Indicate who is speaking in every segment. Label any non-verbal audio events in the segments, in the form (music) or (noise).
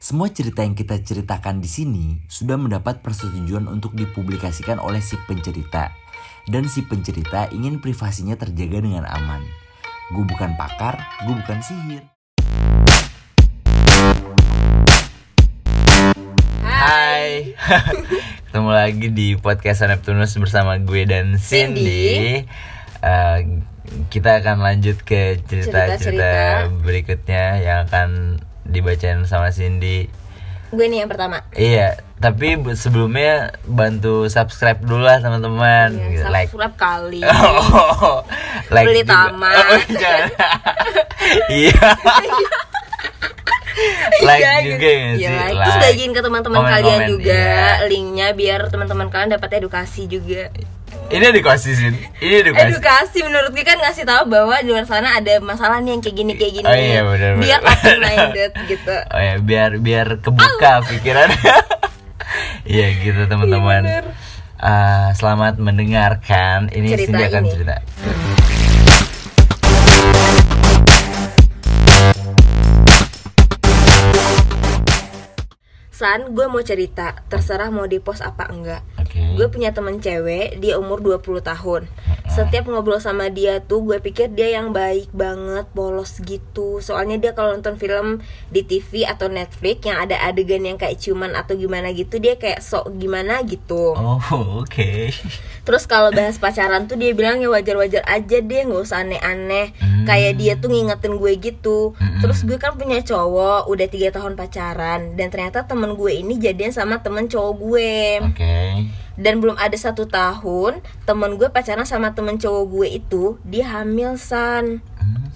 Speaker 1: Semua cerita yang kita ceritakan di sini sudah mendapat persetujuan untuk dipublikasikan oleh si pencerita. Dan si pencerita ingin privasinya terjaga dengan aman. Gue bukan pakar, gue bukan sihir. Hai. (laughs) Ketemu lagi di podcast Neptunus bersama gue dan Cindy. Eh, kita akan lanjut ke cerita-cerita
Speaker 2: Cerita-cerita.
Speaker 1: berikutnya yang akan dibacain sama Cindy.
Speaker 2: Gue nih yang pertama.
Speaker 1: Iya, tapi bu- sebelumnya bantu subscribe dulu lah teman-teman. Gitu, like.
Speaker 2: Subscribe kali.
Speaker 1: Oh, like
Speaker 2: Iya, Beli
Speaker 1: juga.
Speaker 2: taman.
Speaker 1: (laughs) Oh, jangan.
Speaker 2: (laughs)
Speaker 1: Iya. (laughs) like
Speaker 2: Iya, gitu.
Speaker 1: juga ya
Speaker 2: Iya,
Speaker 1: sih.
Speaker 2: like. Terus
Speaker 1: like.
Speaker 2: bagiin ke teman-teman
Speaker 1: Komen-komen,
Speaker 2: kalian juga
Speaker 1: iya.
Speaker 2: linknya biar teman-teman kalian dapat edukasi juga.
Speaker 1: Ini edukasi sih. Ini edukasi.
Speaker 2: Edukasi menurut gue kan ngasih tahu bahwa di luar sana ada masalah nih yang kayak gini kayak gini.
Speaker 1: Oh iya, benar,
Speaker 2: biar
Speaker 1: benar.
Speaker 2: open
Speaker 1: (laughs)
Speaker 2: minded gitu.
Speaker 1: Oh ya, biar biar kebuka pikiran.
Speaker 2: (laughs)
Speaker 1: Iya gitu teman-teman.
Speaker 2: Iya, bener.
Speaker 1: Eh, selamat mendengarkan. Ini
Speaker 2: Cerita
Speaker 1: Cindy akan
Speaker 2: ini.
Speaker 1: cerita.
Speaker 2: San, gue mau cerita, terserah mau di post apa enggak.
Speaker 1: Oke.
Speaker 2: Gue punya temen cewek, dia umur 20 tahun Setiap ngobrol sama dia tuh gue pikir dia yang baik banget, polos gitu Soalnya dia kalau nonton film di TV atau Netflix yang ada adegan yang kayak ciuman atau gimana gitu Dia kayak sok gimana gitu
Speaker 1: Oh, oke.
Speaker 2: Terus kalau bahas pacaran tuh dia bilang ya wajar-wajar aja deh nggak usah aneh-aneh Kayak dia tuh ngingetin gue gitu Terus gue kan punya cowok udah tiga tahun pacaran Dan ternyata temen gue ini jadian sama temen cowok gue
Speaker 1: Oke.
Speaker 2: dan belum ada satu tahun temen gue pacaran sama temen cowok gue itu dia hamil san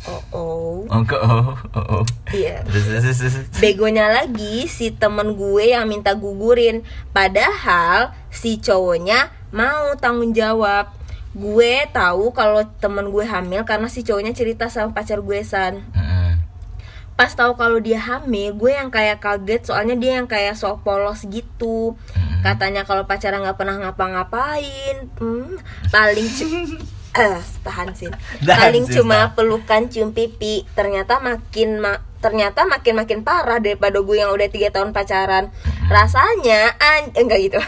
Speaker 2: oh oh
Speaker 1: Oke. Hmm, Oh, oh, oh.
Speaker 2: iya
Speaker 1: Terus, terus, terus, terus.
Speaker 2: begonya lagi si temen gue yang minta gugurin padahal si cowoknya mau tanggung jawab gue tahu kalau temen gue hamil karena si cowoknya cerita sama pacar gue san
Speaker 1: Mm-mm.
Speaker 2: pas tahu kalau dia hamil gue yang kayak kaget soalnya dia yang kayak sok polos gitu
Speaker 1: Hmm.
Speaker 2: katanya kalau pacaran nggak pernah ngapa-ngapain hmm, paling
Speaker 1: (laughs)
Speaker 2: cu- Eh, tahan sih
Speaker 1: Tahan,
Speaker 2: paling
Speaker 1: Sis,
Speaker 2: cuma
Speaker 1: tahan.
Speaker 2: pelukan cium pipi ternyata makin ma- ternyata makin makin parah daripada gue yang udah tiga tahun pacaran
Speaker 1: Hmm.
Speaker 2: rasanya an enggak
Speaker 1: (laughs)
Speaker 2: gitu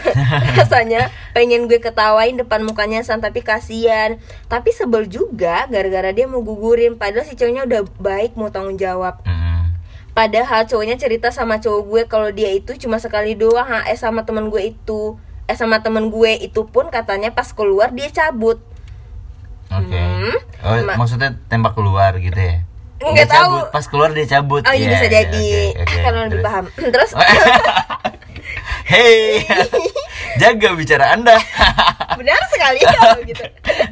Speaker 2: rasanya pengen gue ketawain depan mukanya san tapi kasihan tapi sebel juga gara-gara dia mau gugurin padahal si cowoknya udah baik mau tanggung jawab
Speaker 1: Mm-mm.
Speaker 2: padahal cowoknya cerita sama cowok gue kalau dia itu cuma sekali doang HS sama temen gue itu eh sama temen gue itu pun katanya pas keluar dia cabut
Speaker 1: Oke.
Speaker 2: Hmm.
Speaker 1: Oh,
Speaker 2: Ma-
Speaker 1: maksudnya tembak keluar gitu ya? Dia
Speaker 2: Nggak
Speaker 1: cabut.
Speaker 2: tahu.
Speaker 1: Pas keluar dia cabut.
Speaker 2: Oh ini
Speaker 1: Iya,
Speaker 2: bisa
Speaker 1: iya,
Speaker 2: jadi Kan
Speaker 1: oke, oke.
Speaker 2: kalau lebih
Speaker 1: Terus.
Speaker 2: paham. (laughs) Terus
Speaker 1: Hei,
Speaker 2: (laughs)
Speaker 1: (laughs) jaga bicara Anda. (laughs)
Speaker 2: benar sekali (laughs) kalau gitu.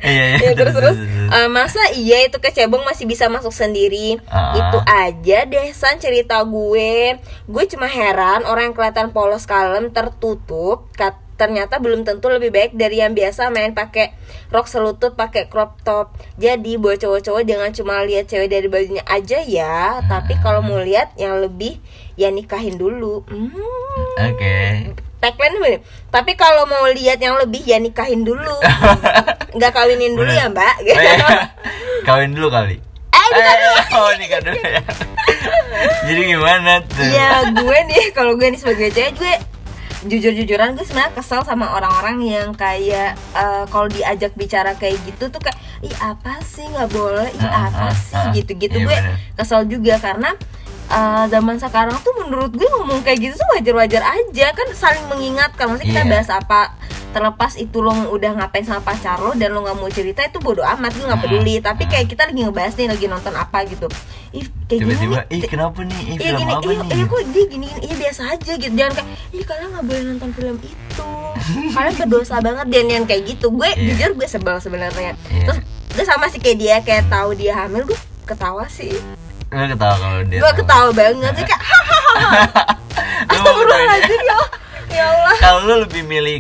Speaker 1: Iya, (laughs) iya,
Speaker 2: Ya, terus terus
Speaker 1: terus.
Speaker 2: eh, masa iya itu kecebong masih bisa masuk sendiri
Speaker 1: Ah.
Speaker 2: itu aja deh san cerita gue gue cuma heran orang yang kelihatan polos kalem tertutup kat- ternyata belum tentu lebih baik dari yang biasa main pakai rok selutut pakai crop top jadi buat cowok-cowok jangan cuma lihat cewek dari bajunya aja ya tapi kalau mau lihat yang lebih ya nikahin dulu Hmm. (laughs)
Speaker 1: Oke.
Speaker 2: Tagline begini, tapi kalau mau lihat yang lebih ya nikahin dulu. Nggak kawinin dulu ya, Mbak.
Speaker 1: Oh, iya. Kawin dulu kali.
Speaker 2: Eh, bukan.
Speaker 1: Eh, oh, nikah dulu ya. Jadi gimana
Speaker 2: (laughs)
Speaker 1: tuh?
Speaker 2: Iya, gue nih kalau gue nih sebagai cewek gue jujur-jujuran gue sebenarnya kesel sama orang-orang yang kayak eh, kalau diajak bicara kayak gitu tuh kayak ih apa sih nggak boleh ih
Speaker 1: Ah,
Speaker 2: apa
Speaker 1: ah,
Speaker 2: sih
Speaker 1: ah.
Speaker 2: gitu-gitu
Speaker 1: Iya,
Speaker 2: gue
Speaker 1: bener.
Speaker 2: kesel juga karena eh, zaman sekarang tuh menurut gue ngomong kayak gitu tuh wajar-wajar aja kan saling mengingatkan maksudnya kita
Speaker 1: Iya.
Speaker 2: bahas apa terlepas itu lo udah ngapain sama pacar lo dan lo nggak mau cerita itu bodo amat gue
Speaker 1: Ah,
Speaker 2: nggak peduli tapi kayak kita lagi ngebahas nih lagi nonton apa gitu ih kayak gini
Speaker 1: Tiba-tiba,
Speaker 2: nih,
Speaker 1: ih kenapa nih? Ih,
Speaker 2: Iya
Speaker 1: film
Speaker 2: gini,
Speaker 1: apa
Speaker 2: iya,
Speaker 1: nih?
Speaker 2: iya kok dia gini, iya biasa aja gitu Jangan kayak, iya kalian gak boleh nonton film itu Kalian berdosa banget dan yang kayak gitu Gue
Speaker 1: Iya.
Speaker 2: jujur gue sebel sebenarnya
Speaker 1: Iya.
Speaker 2: Terus gue sama sih kayak dia, kayak tahu dia hamil gue ketawa sih
Speaker 1: Lu ketawa kalau dia.
Speaker 2: Gue ketawa banget, gue kayak
Speaker 1: Lu mau ketawain dia?
Speaker 2: astagfirullahaladzim ya Allah Ya Allah
Speaker 1: Kalau lu lebih milih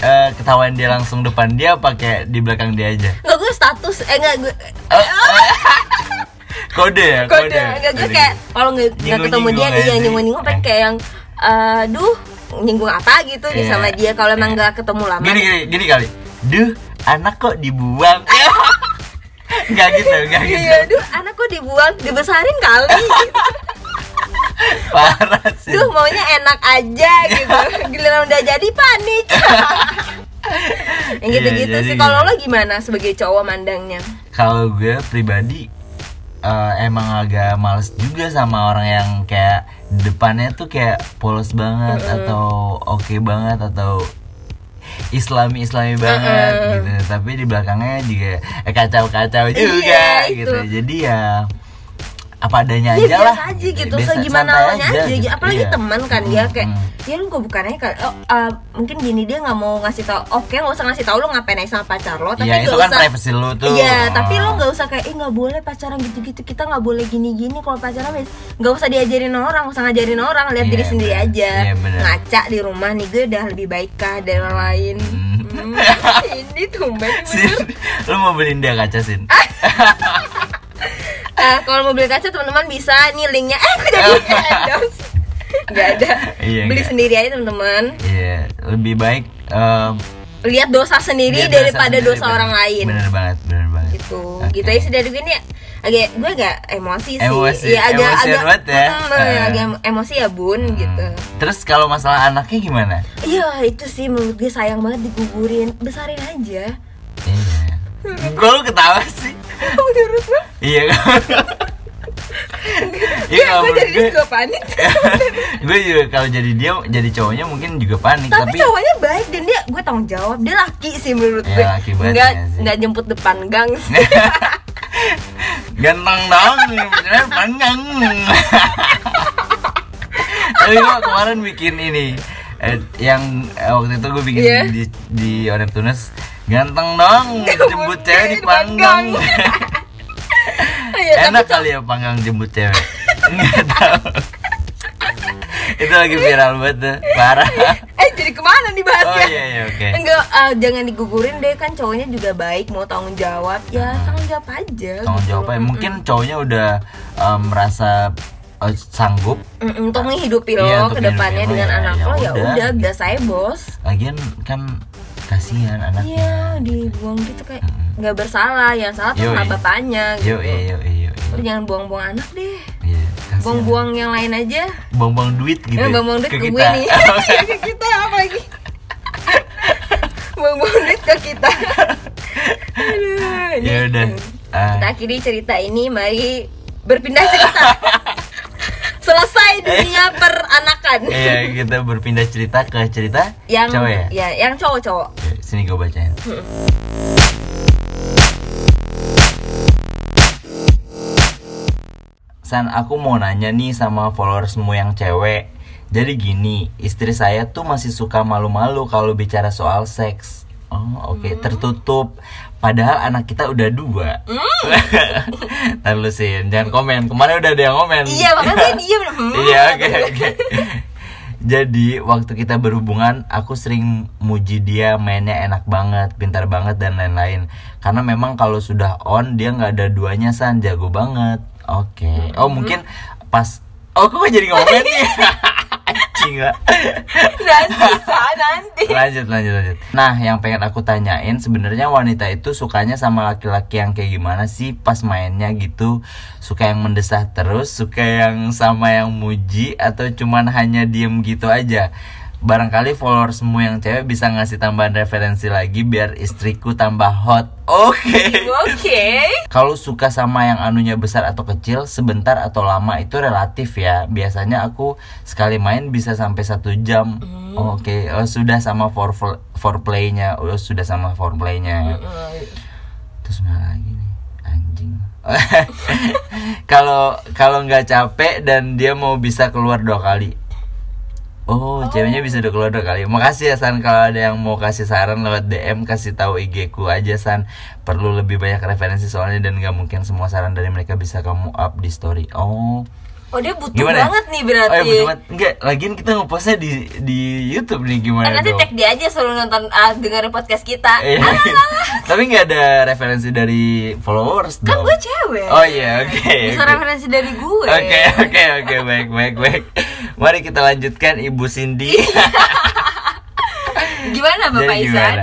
Speaker 1: eh, ketahuan dia langsung depan dia apa kayak di belakang dia aja?
Speaker 2: Nggak gue status, eh nggak gue
Speaker 1: Kode ya,
Speaker 2: kode Nggak gue kayak, kalau nggak nggak
Speaker 1: Nyinggung-nyinggung
Speaker 2: ketemu dia,
Speaker 1: aja
Speaker 2: iya
Speaker 1: sih.
Speaker 2: nyinggung-nyinggung Pengen kayak yang, eh, duh nyinggung apa gitu nih
Speaker 1: Iya.
Speaker 2: sama dia kalau emang
Speaker 1: Iya.
Speaker 2: nggak ketemu lama
Speaker 1: Gini gini gini kali. Duh, anak kok dibuang.
Speaker 2: (laughs)
Speaker 1: (laughs) Enggak gitu, enggak gitu. (laughs)
Speaker 2: Iya, aduh anak kok dibuang, dibesarin kali.
Speaker 1: parah sih
Speaker 2: Duh maunya enak aja gitu Giliran udah jadi
Speaker 1: (laughs)
Speaker 2: panik Yang
Speaker 1: Iya,
Speaker 2: gitu-gitu
Speaker 1: jadi
Speaker 2: sih Kalau
Speaker 1: gimana?
Speaker 2: lo gimana sebagai cowok mandangnya?
Speaker 1: kalau gue pribadi eh, emang agak males juga sama orang yang kayak depannya tuh kayak polos banget atau oke banget atau islami islami banget gitu tapi di belakangnya juga eh, kacau kacau juga
Speaker 2: Iya, itu.
Speaker 1: gitu jadi ya apa adanya
Speaker 2: Ya
Speaker 1: aja lah
Speaker 2: biasa aja gitu,
Speaker 1: Biasa,
Speaker 2: segimana
Speaker 1: santai
Speaker 2: awalnya aja, gitu. Apalagi
Speaker 1: Iya.
Speaker 2: teman kan dia kayak
Speaker 1: Mm.
Speaker 2: Ya lu gue bukannya kali oh, uh, Mungkin gini dia nggak mau ngasih tau Oke nggak usah ngasih tau lo ngapain aja sama pacar lo Tapi
Speaker 1: Iya,
Speaker 2: nggak
Speaker 1: itu kan
Speaker 2: usah
Speaker 1: privacy lu tuh
Speaker 2: Iya, tapi lo
Speaker 1: Oh. (laughs)
Speaker 2: nggak usah kayak, eh nggak boleh pacaran gitu-gitu. Kita nggak boleh gini-gini kalau pacaran. Bes." Nggak usah diajarin orang, nggak usah ngajarin orang. Lihat
Speaker 1: Iya,
Speaker 2: diri sendiri
Speaker 1: bener.
Speaker 2: aja.
Speaker 1: Iya, bener.
Speaker 2: Ngaca di rumah nih gue udah lebih baik kah dari orang lain.
Speaker 1: Hmm.
Speaker 2: Hmm, ini tumben
Speaker 1: (laughs) Sin,
Speaker 2: bener.
Speaker 1: lu mau beliin dia kaca sin
Speaker 2: Ah. Eh, kalau mau beli kaca teman-teman bisa nih linknya. Eh, aku jadi endorse. Gak ada.
Speaker 1: Iya,
Speaker 2: beli
Speaker 1: nggak.
Speaker 2: sendiri aja teman-teman.
Speaker 1: Iya, lebih baik eh,
Speaker 2: Lihat dosa sendiri
Speaker 1: dia dosa
Speaker 2: daripada
Speaker 1: sendiri,
Speaker 2: dosa
Speaker 1: bener.
Speaker 2: orang lain.
Speaker 1: Bener banget, bener banget.
Speaker 2: gitu
Speaker 1: Oke.
Speaker 2: gitu aja sih dari gue nih agak gue agak emosi sih
Speaker 1: Emosi,
Speaker 2: ya agak
Speaker 1: emosian
Speaker 2: agak
Speaker 1: banget ya.
Speaker 2: Mm, ya,
Speaker 1: Eh.
Speaker 2: agak em- emosi ya bun
Speaker 1: Hmm.
Speaker 2: gitu
Speaker 1: Terus kalau masalah anaknya gimana?
Speaker 2: iya itu sih menurut gue sayang banget digugurin besarin
Speaker 1: (laughs)
Speaker 2: aja
Speaker 1: Iya. Kok lu ketawa sih?
Speaker 2: menurut lo
Speaker 1: Iya. Iya,
Speaker 2: gue
Speaker 1: kalau
Speaker 2: gue jadi
Speaker 1: menurut Eh,
Speaker 2: juga panik
Speaker 1: (laughs) gue juga kalau jadi dia jadi cowoknya mungkin juga panik
Speaker 2: tapi,
Speaker 1: tapi,
Speaker 2: cowoknya baik dan dia gue tanggung jawab dia laki sih menurut
Speaker 1: Ya,
Speaker 2: gue
Speaker 1: laki banget
Speaker 2: nggak
Speaker 1: ya sih.
Speaker 2: nggak jemput depan gang sih
Speaker 1: ganteng dong beneran panjang (laughs) tapi gue kemarin bikin ini eh, yang eh, waktu itu gue bikin
Speaker 2: Iya.
Speaker 1: di di Orep Tunas ganteng dong jemput cewek di panggang
Speaker 2: panggang. (laughs) Iya, tapi
Speaker 1: enak kali ya panggang jemput cewek nggak tahu itu lagi viral banget tuh parah
Speaker 2: eh jadi kemana
Speaker 1: oh
Speaker 2: nih bahasnya
Speaker 1: iya iya oke
Speaker 2: Enggak, eh, jangan digugurin deh kan cowoknya juga baik mau tanggung jawab ya tanggung jawab aja.
Speaker 1: tanggung
Speaker 2: gitu.
Speaker 1: jawabnya mungkin cowoknya udah eh, merasa eh, sanggup
Speaker 2: Mm-mm, Mm, untuk menghidupi lo
Speaker 1: Iya, untuk
Speaker 2: ke depannya
Speaker 1: menghidupi lo,
Speaker 2: dengan
Speaker 1: ya,
Speaker 2: anak
Speaker 1: ya
Speaker 2: lo ya
Speaker 1: udah.
Speaker 2: udah biasa ya bos.
Speaker 1: lagian kan kasihan anaknya
Speaker 2: Iya dibuang gitu kayak nggak bersalah yang salah tuh
Speaker 1: Yoi.
Speaker 2: sama bapaknya
Speaker 1: yo
Speaker 2: gitu.
Speaker 1: yo yo
Speaker 2: Lu jangan buang-buang anak deh,
Speaker 1: buang
Speaker 2: buang-buang yang lain aja.
Speaker 1: buang duit gitu
Speaker 2: Emang
Speaker 1: ya,
Speaker 2: buang-buang duit
Speaker 1: ke
Speaker 2: ke,
Speaker 1: kita.
Speaker 2: gue
Speaker 1: (laughs)
Speaker 2: nih, ya ke kita apa lagi? buang-buang duit ke kita. Aduh, ini
Speaker 1: ya udah Ah,
Speaker 2: Kita akhiri cerita ini, mari berpindah
Speaker 1: (laughs)
Speaker 2: cerita. Selesai
Speaker 1: Eh.
Speaker 2: dunia peranakan.
Speaker 1: iya kita berpindah cerita ke cerita
Speaker 2: yang
Speaker 1: cowok ya,
Speaker 2: ya, yang cowok-cowok.
Speaker 1: Oke, sini gue bacain San, aku mau nanya nih sama followersmu yang cewek. Jadi gini, istri saya tuh masih suka malu-malu kalau bicara soal seks. Oh,
Speaker 2: Hmm.
Speaker 1: oke, tertutup. Padahal anak kita udah dua. (laughs) Ntar lu Sin, jangan komen. Kemarin udah ada yang komen.
Speaker 2: Hmm. Iya, makanya dia diem.
Speaker 1: (laughs)
Speaker 2: Hmm.
Speaker 1: Iya, oke, oke. (laughs) Jadi, waktu kita berhubungan, aku sering muji dia mainnya enak banget, pintar banget, dan lain-lain. Karena memang kalau sudah on, dia nggak ada duanya, San. Jago banget. Oke. Oh, mungkin pas... Oh, kok gue jadi ngomongin nih? Anjing lah.
Speaker 2: Nanti, Sa, nanti.
Speaker 1: Lanjut, lanjut, lanjut. Nah, yang pengen aku tanyain, sebenarnya wanita itu sukanya sama laki-laki yang kayak gimana sih pas mainnya gitu? Suka yang mendesah terus, suka yang sama yang muji, atau cuman hanya diem gitu aja? Barangkali followersmu yang cewek bisa ngasih tambahan referensi lagi biar istriku tambah hot. Oke. (laughs)
Speaker 2: Oke.
Speaker 1: Kalau suka sama yang anunya besar atau kecil, sebentar atau lama itu relatif ya. Biasanya aku sekali main bisa sampai satu jam. Oh, Oke, Oh, sudah sama forefl- foreplaynya, oh, sudah sama
Speaker 2: Hmm.
Speaker 1: foreplaynya. Terus mana lagi nih, anjing. (laughs) Kalau kalau nggak capek dan dia mau bisa keluar dua kali. Oh, ceweknya bisa udah keluar dua kali. Makasih ya San kalau ada yang mau kasih saran lewat DM kasih tahu IG ku aja San. Perlu lebih banyak referensi soalnya dan nggak mungkin semua saran dari mereka bisa kamu up di story. Oh.
Speaker 2: Oh, dia butuh
Speaker 1: Gimana? ya?
Speaker 2: banget nih
Speaker 1: Oh,
Speaker 2: berarti.
Speaker 1: iya, betul banget. Enggak, lagian kita ngepostnya di di YouTube nih gimana
Speaker 2: Kan nanti
Speaker 1: dong?
Speaker 2: tag dia aja suruh nonton ah, dengerin podcast kita.
Speaker 1: (laughs) Iya.
Speaker 2: Ah,
Speaker 1: Tapi nggak ada referensi dari followers
Speaker 2: kan
Speaker 1: dong.
Speaker 2: gue cewek.
Speaker 1: Oh iya, oke.
Speaker 2: Bisa
Speaker 1: oke.
Speaker 2: referensi dari gue.
Speaker 1: Oke oke oke baik baik baik. Mari kita lanjutkan Ibu Cindy. (laughs)
Speaker 2: Gimana Iya, Bapak Isan?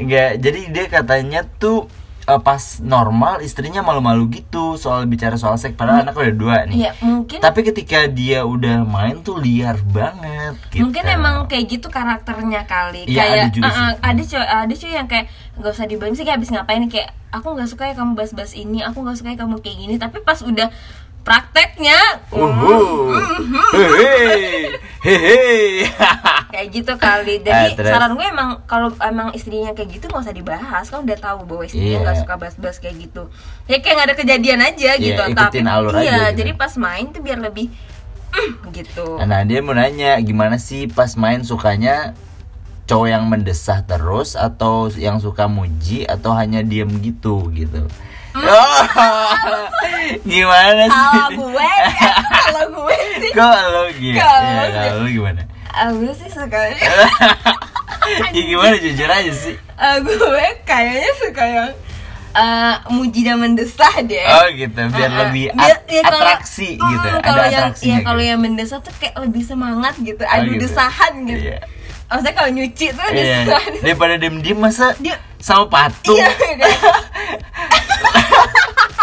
Speaker 1: Enggak, jadi dia katanya tuh eh, pas normal istrinya malu-malu gitu soal bicara soal seks padahal anak udah dua nih.
Speaker 2: Iya, mungkin
Speaker 1: Tapi ketika dia udah main tuh liar banget gitu.
Speaker 2: mungkin emang kayak gitu karakternya kali
Speaker 1: Iya,
Speaker 2: kayak
Speaker 1: ada juga sih.
Speaker 2: uh-uh, ada cuy ada cuy yang kayak nggak usah dibahas sih kayak abis ngapain kayak aku nggak suka ya kamu bahas-bahas ini aku nggak suka ya kamu kayak gini tapi pas udah prakteknya mm,
Speaker 1: Uhuh.
Speaker 2: "Mm-hmm."
Speaker 1: Hehe. Hehe. (laughs)
Speaker 2: kayak gitu kali
Speaker 1: Eh,
Speaker 2: jadi
Speaker 1: terus?
Speaker 2: saran gue emang kalau emang istrinya kayak gitu nggak usah dibahas kan udah tahu
Speaker 1: Iya.
Speaker 2: bahwa istrinya nggak suka bahas-bahas kayak gitu ya kayak nggak ada kejadian aja gitu
Speaker 1: ikutin alur aja
Speaker 2: iya
Speaker 1: gitu.
Speaker 2: jadi pas main tuh biar lebih "Mm," gitu
Speaker 1: Nah dia mau nanya gimana sih pas main sukanya cowok yang mendesah terus atau yang suka muji atau hanya diem gitu gitu. (laughs) gimana sih?
Speaker 2: kalau gue
Speaker 1: (laughs)
Speaker 2: kalau gue sih
Speaker 1: Kalau gitu,
Speaker 2: Kalau
Speaker 1: ya, kalau lu
Speaker 2: (laughs)
Speaker 1: gimana?
Speaker 2: ah, gue sih
Speaker 1: (laughs)
Speaker 2: suka
Speaker 1: ya gimana jujur aja sih.
Speaker 2: Eh, gue kayaknya suka yang eh, muji dan mendesah deh.
Speaker 1: Oh gitu, biar
Speaker 2: Ah, ah.
Speaker 1: lebih
Speaker 2: Biar-
Speaker 1: at-
Speaker 2: ya kalau-
Speaker 1: atraksi gitu,
Speaker 2: Mm,
Speaker 1: ada
Speaker 2: kalau yang,
Speaker 1: atraksinya.
Speaker 2: ya, kalau
Speaker 1: gitu.
Speaker 2: yang mendesah tuh kayak lebih semangat gitu,
Speaker 1: Oh,
Speaker 2: adu
Speaker 1: gitu.
Speaker 2: desahan gitu.
Speaker 1: Iya.
Speaker 2: Maksudnya kalau nyuci tuh
Speaker 1: Iya.
Speaker 2: desahan.
Speaker 1: Daripada diem-diem masa
Speaker 2: Dia-
Speaker 1: sama patung
Speaker 2: Iya. kayak-
Speaker 1: (laughs)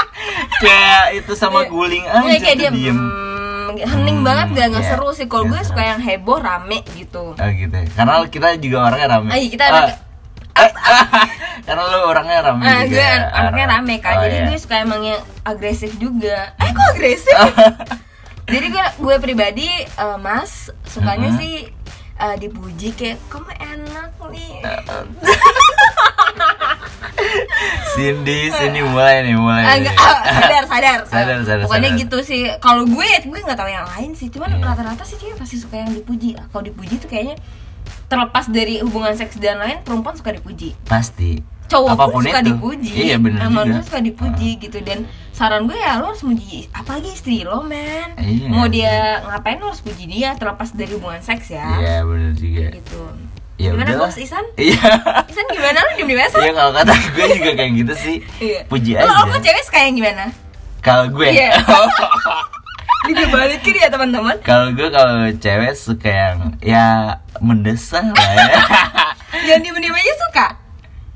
Speaker 1: kayak itu sama
Speaker 2: Iya.
Speaker 1: guling aja
Speaker 2: Iya, kayak
Speaker 1: Ah, tuh
Speaker 2: dia
Speaker 1: diem.
Speaker 2: mm, hening
Speaker 1: Hmm,
Speaker 2: banget gak, nggak
Speaker 1: iya.
Speaker 2: seru sih kalau
Speaker 1: Iya,
Speaker 2: gue
Speaker 1: seru.
Speaker 2: suka yang heboh rame gitu
Speaker 1: Oh gitu. Karena kita juga orangnya rame.
Speaker 2: Ayo, Iya, kita ah.
Speaker 1: Ah.
Speaker 2: anak-
Speaker 1: Eh, (laughs) Karena lu orangnya rame
Speaker 2: Nah,
Speaker 1: juga. ya.
Speaker 2: gue anaknya rame kan,
Speaker 1: Oh,
Speaker 2: jadi
Speaker 1: iya.
Speaker 2: gue suka emang yang agresif juga. Eh, kok
Speaker 1: (laughs)
Speaker 2: agresif? jadi gue gue pribadi eh, Mas sukanya
Speaker 1: Mhm.
Speaker 2: sih eh, dipuji kayak kamu enak nih.
Speaker 1: Eh, Cindy, Cindy mulai nih, mulai.
Speaker 2: Ah, enggak, ah, (laughs) sadar, sadar.
Speaker 1: iya. Sadar,
Speaker 2: Eh,
Speaker 1: sadar,
Speaker 2: Pokoknya
Speaker 1: sadar.
Speaker 2: gitu sih. Kalau gue, gue nggak tahu yang lain sih. Cuman
Speaker 1: Iya.
Speaker 2: rata-rata sih cewek pasti suka yang dipuji. Ah, Kalau dipuji tuh kayaknya terlepas dari hubungan seks dan lain, perempuan suka dipuji.
Speaker 1: Pasti.
Speaker 2: cowok
Speaker 1: Apapun
Speaker 2: pun suka
Speaker 1: itu.
Speaker 2: dipuji
Speaker 1: Iya benar
Speaker 2: emang
Speaker 1: juga. Ah.
Speaker 2: lu suka dipuji gitu dan saran gue ya lo harus muji apalagi istri lo men
Speaker 1: Iya.
Speaker 2: mau dia ngapain lo harus puji dia terlepas dari hubungan seks ya
Speaker 1: Iya benar juga.
Speaker 2: gitu
Speaker 1: Ya
Speaker 2: gimana
Speaker 1: udahlah.
Speaker 2: bos Isan
Speaker 1: Iya.
Speaker 2: Isan gimana lo diem di mesa
Speaker 1: Iya kalau kata gue juga kayak gitu sih. Puji
Speaker 2: lo
Speaker 1: aja.
Speaker 2: lo kok Iya. cewek suka yang gimana
Speaker 1: Kalau ya. gue.
Speaker 2: Iya. dibalikin ya teman-teman
Speaker 1: (laughs) Kalau gue kalau cewek suka yang ya mendesah lah ya. (laughs)
Speaker 2: yang diem-diem aja suka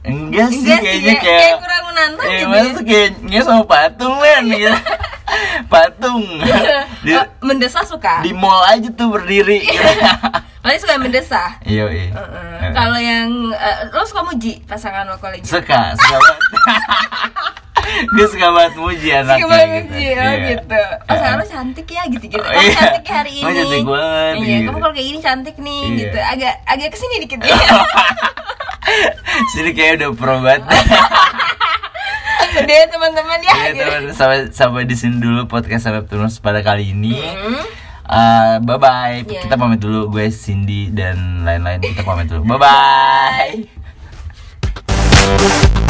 Speaker 1: Enggak sih
Speaker 2: enggak sih
Speaker 1: Iya, kayaknya
Speaker 2: ya.
Speaker 1: kayak
Speaker 2: kayak kurang menantang
Speaker 1: Eh,
Speaker 2: gitu
Speaker 1: masa (laughs) kayaknya sama patung men
Speaker 2: Iya.
Speaker 1: gitu. (laughs) patung.
Speaker 2: ya
Speaker 1: Di,
Speaker 2: Eh, (laughs) mendesah suka
Speaker 1: di mall aja tuh berdiri. gitu.
Speaker 2: paling suka yang mendesah
Speaker 1: (laughs) Iya, iya.
Speaker 2: Iya. Heeh. Kalau yang eh, lo suka muji pasangan lo kalau gitu.
Speaker 1: suka, suka banget. (laughs) Dia suka banget muji anaknya
Speaker 2: Suka banget
Speaker 1: gitu.
Speaker 2: muji, oh
Speaker 1: Iya.
Speaker 2: gitu. Pasangan lo cantik ya gitu-gitu.
Speaker 1: Oh,
Speaker 2: Kamu
Speaker 1: iya.
Speaker 2: cantik ya hari ini.
Speaker 1: Oh, cantik banget,
Speaker 2: Iya,
Speaker 1: gitu.
Speaker 2: kamu kalau kayak gini cantik nih
Speaker 1: Iya.
Speaker 2: gitu. Agak agak kesini
Speaker 1: (laughs)
Speaker 2: dikit. Iya.
Speaker 1: Sini kayak udah pro banget.
Speaker 2: Oh, iya. Gede teman-teman
Speaker 1: (laughs)
Speaker 2: ya.
Speaker 1: Iya,
Speaker 2: gitu.
Speaker 1: teman, sampai sampai di sini dulu podcast sampai Tunus pada kali ini.
Speaker 2: Hmm?
Speaker 1: Eh, bye bye.
Speaker 2: Iya.
Speaker 1: Kita pamit dulu gue Cindy dan lain-lain kita pamit dulu. Bye bye.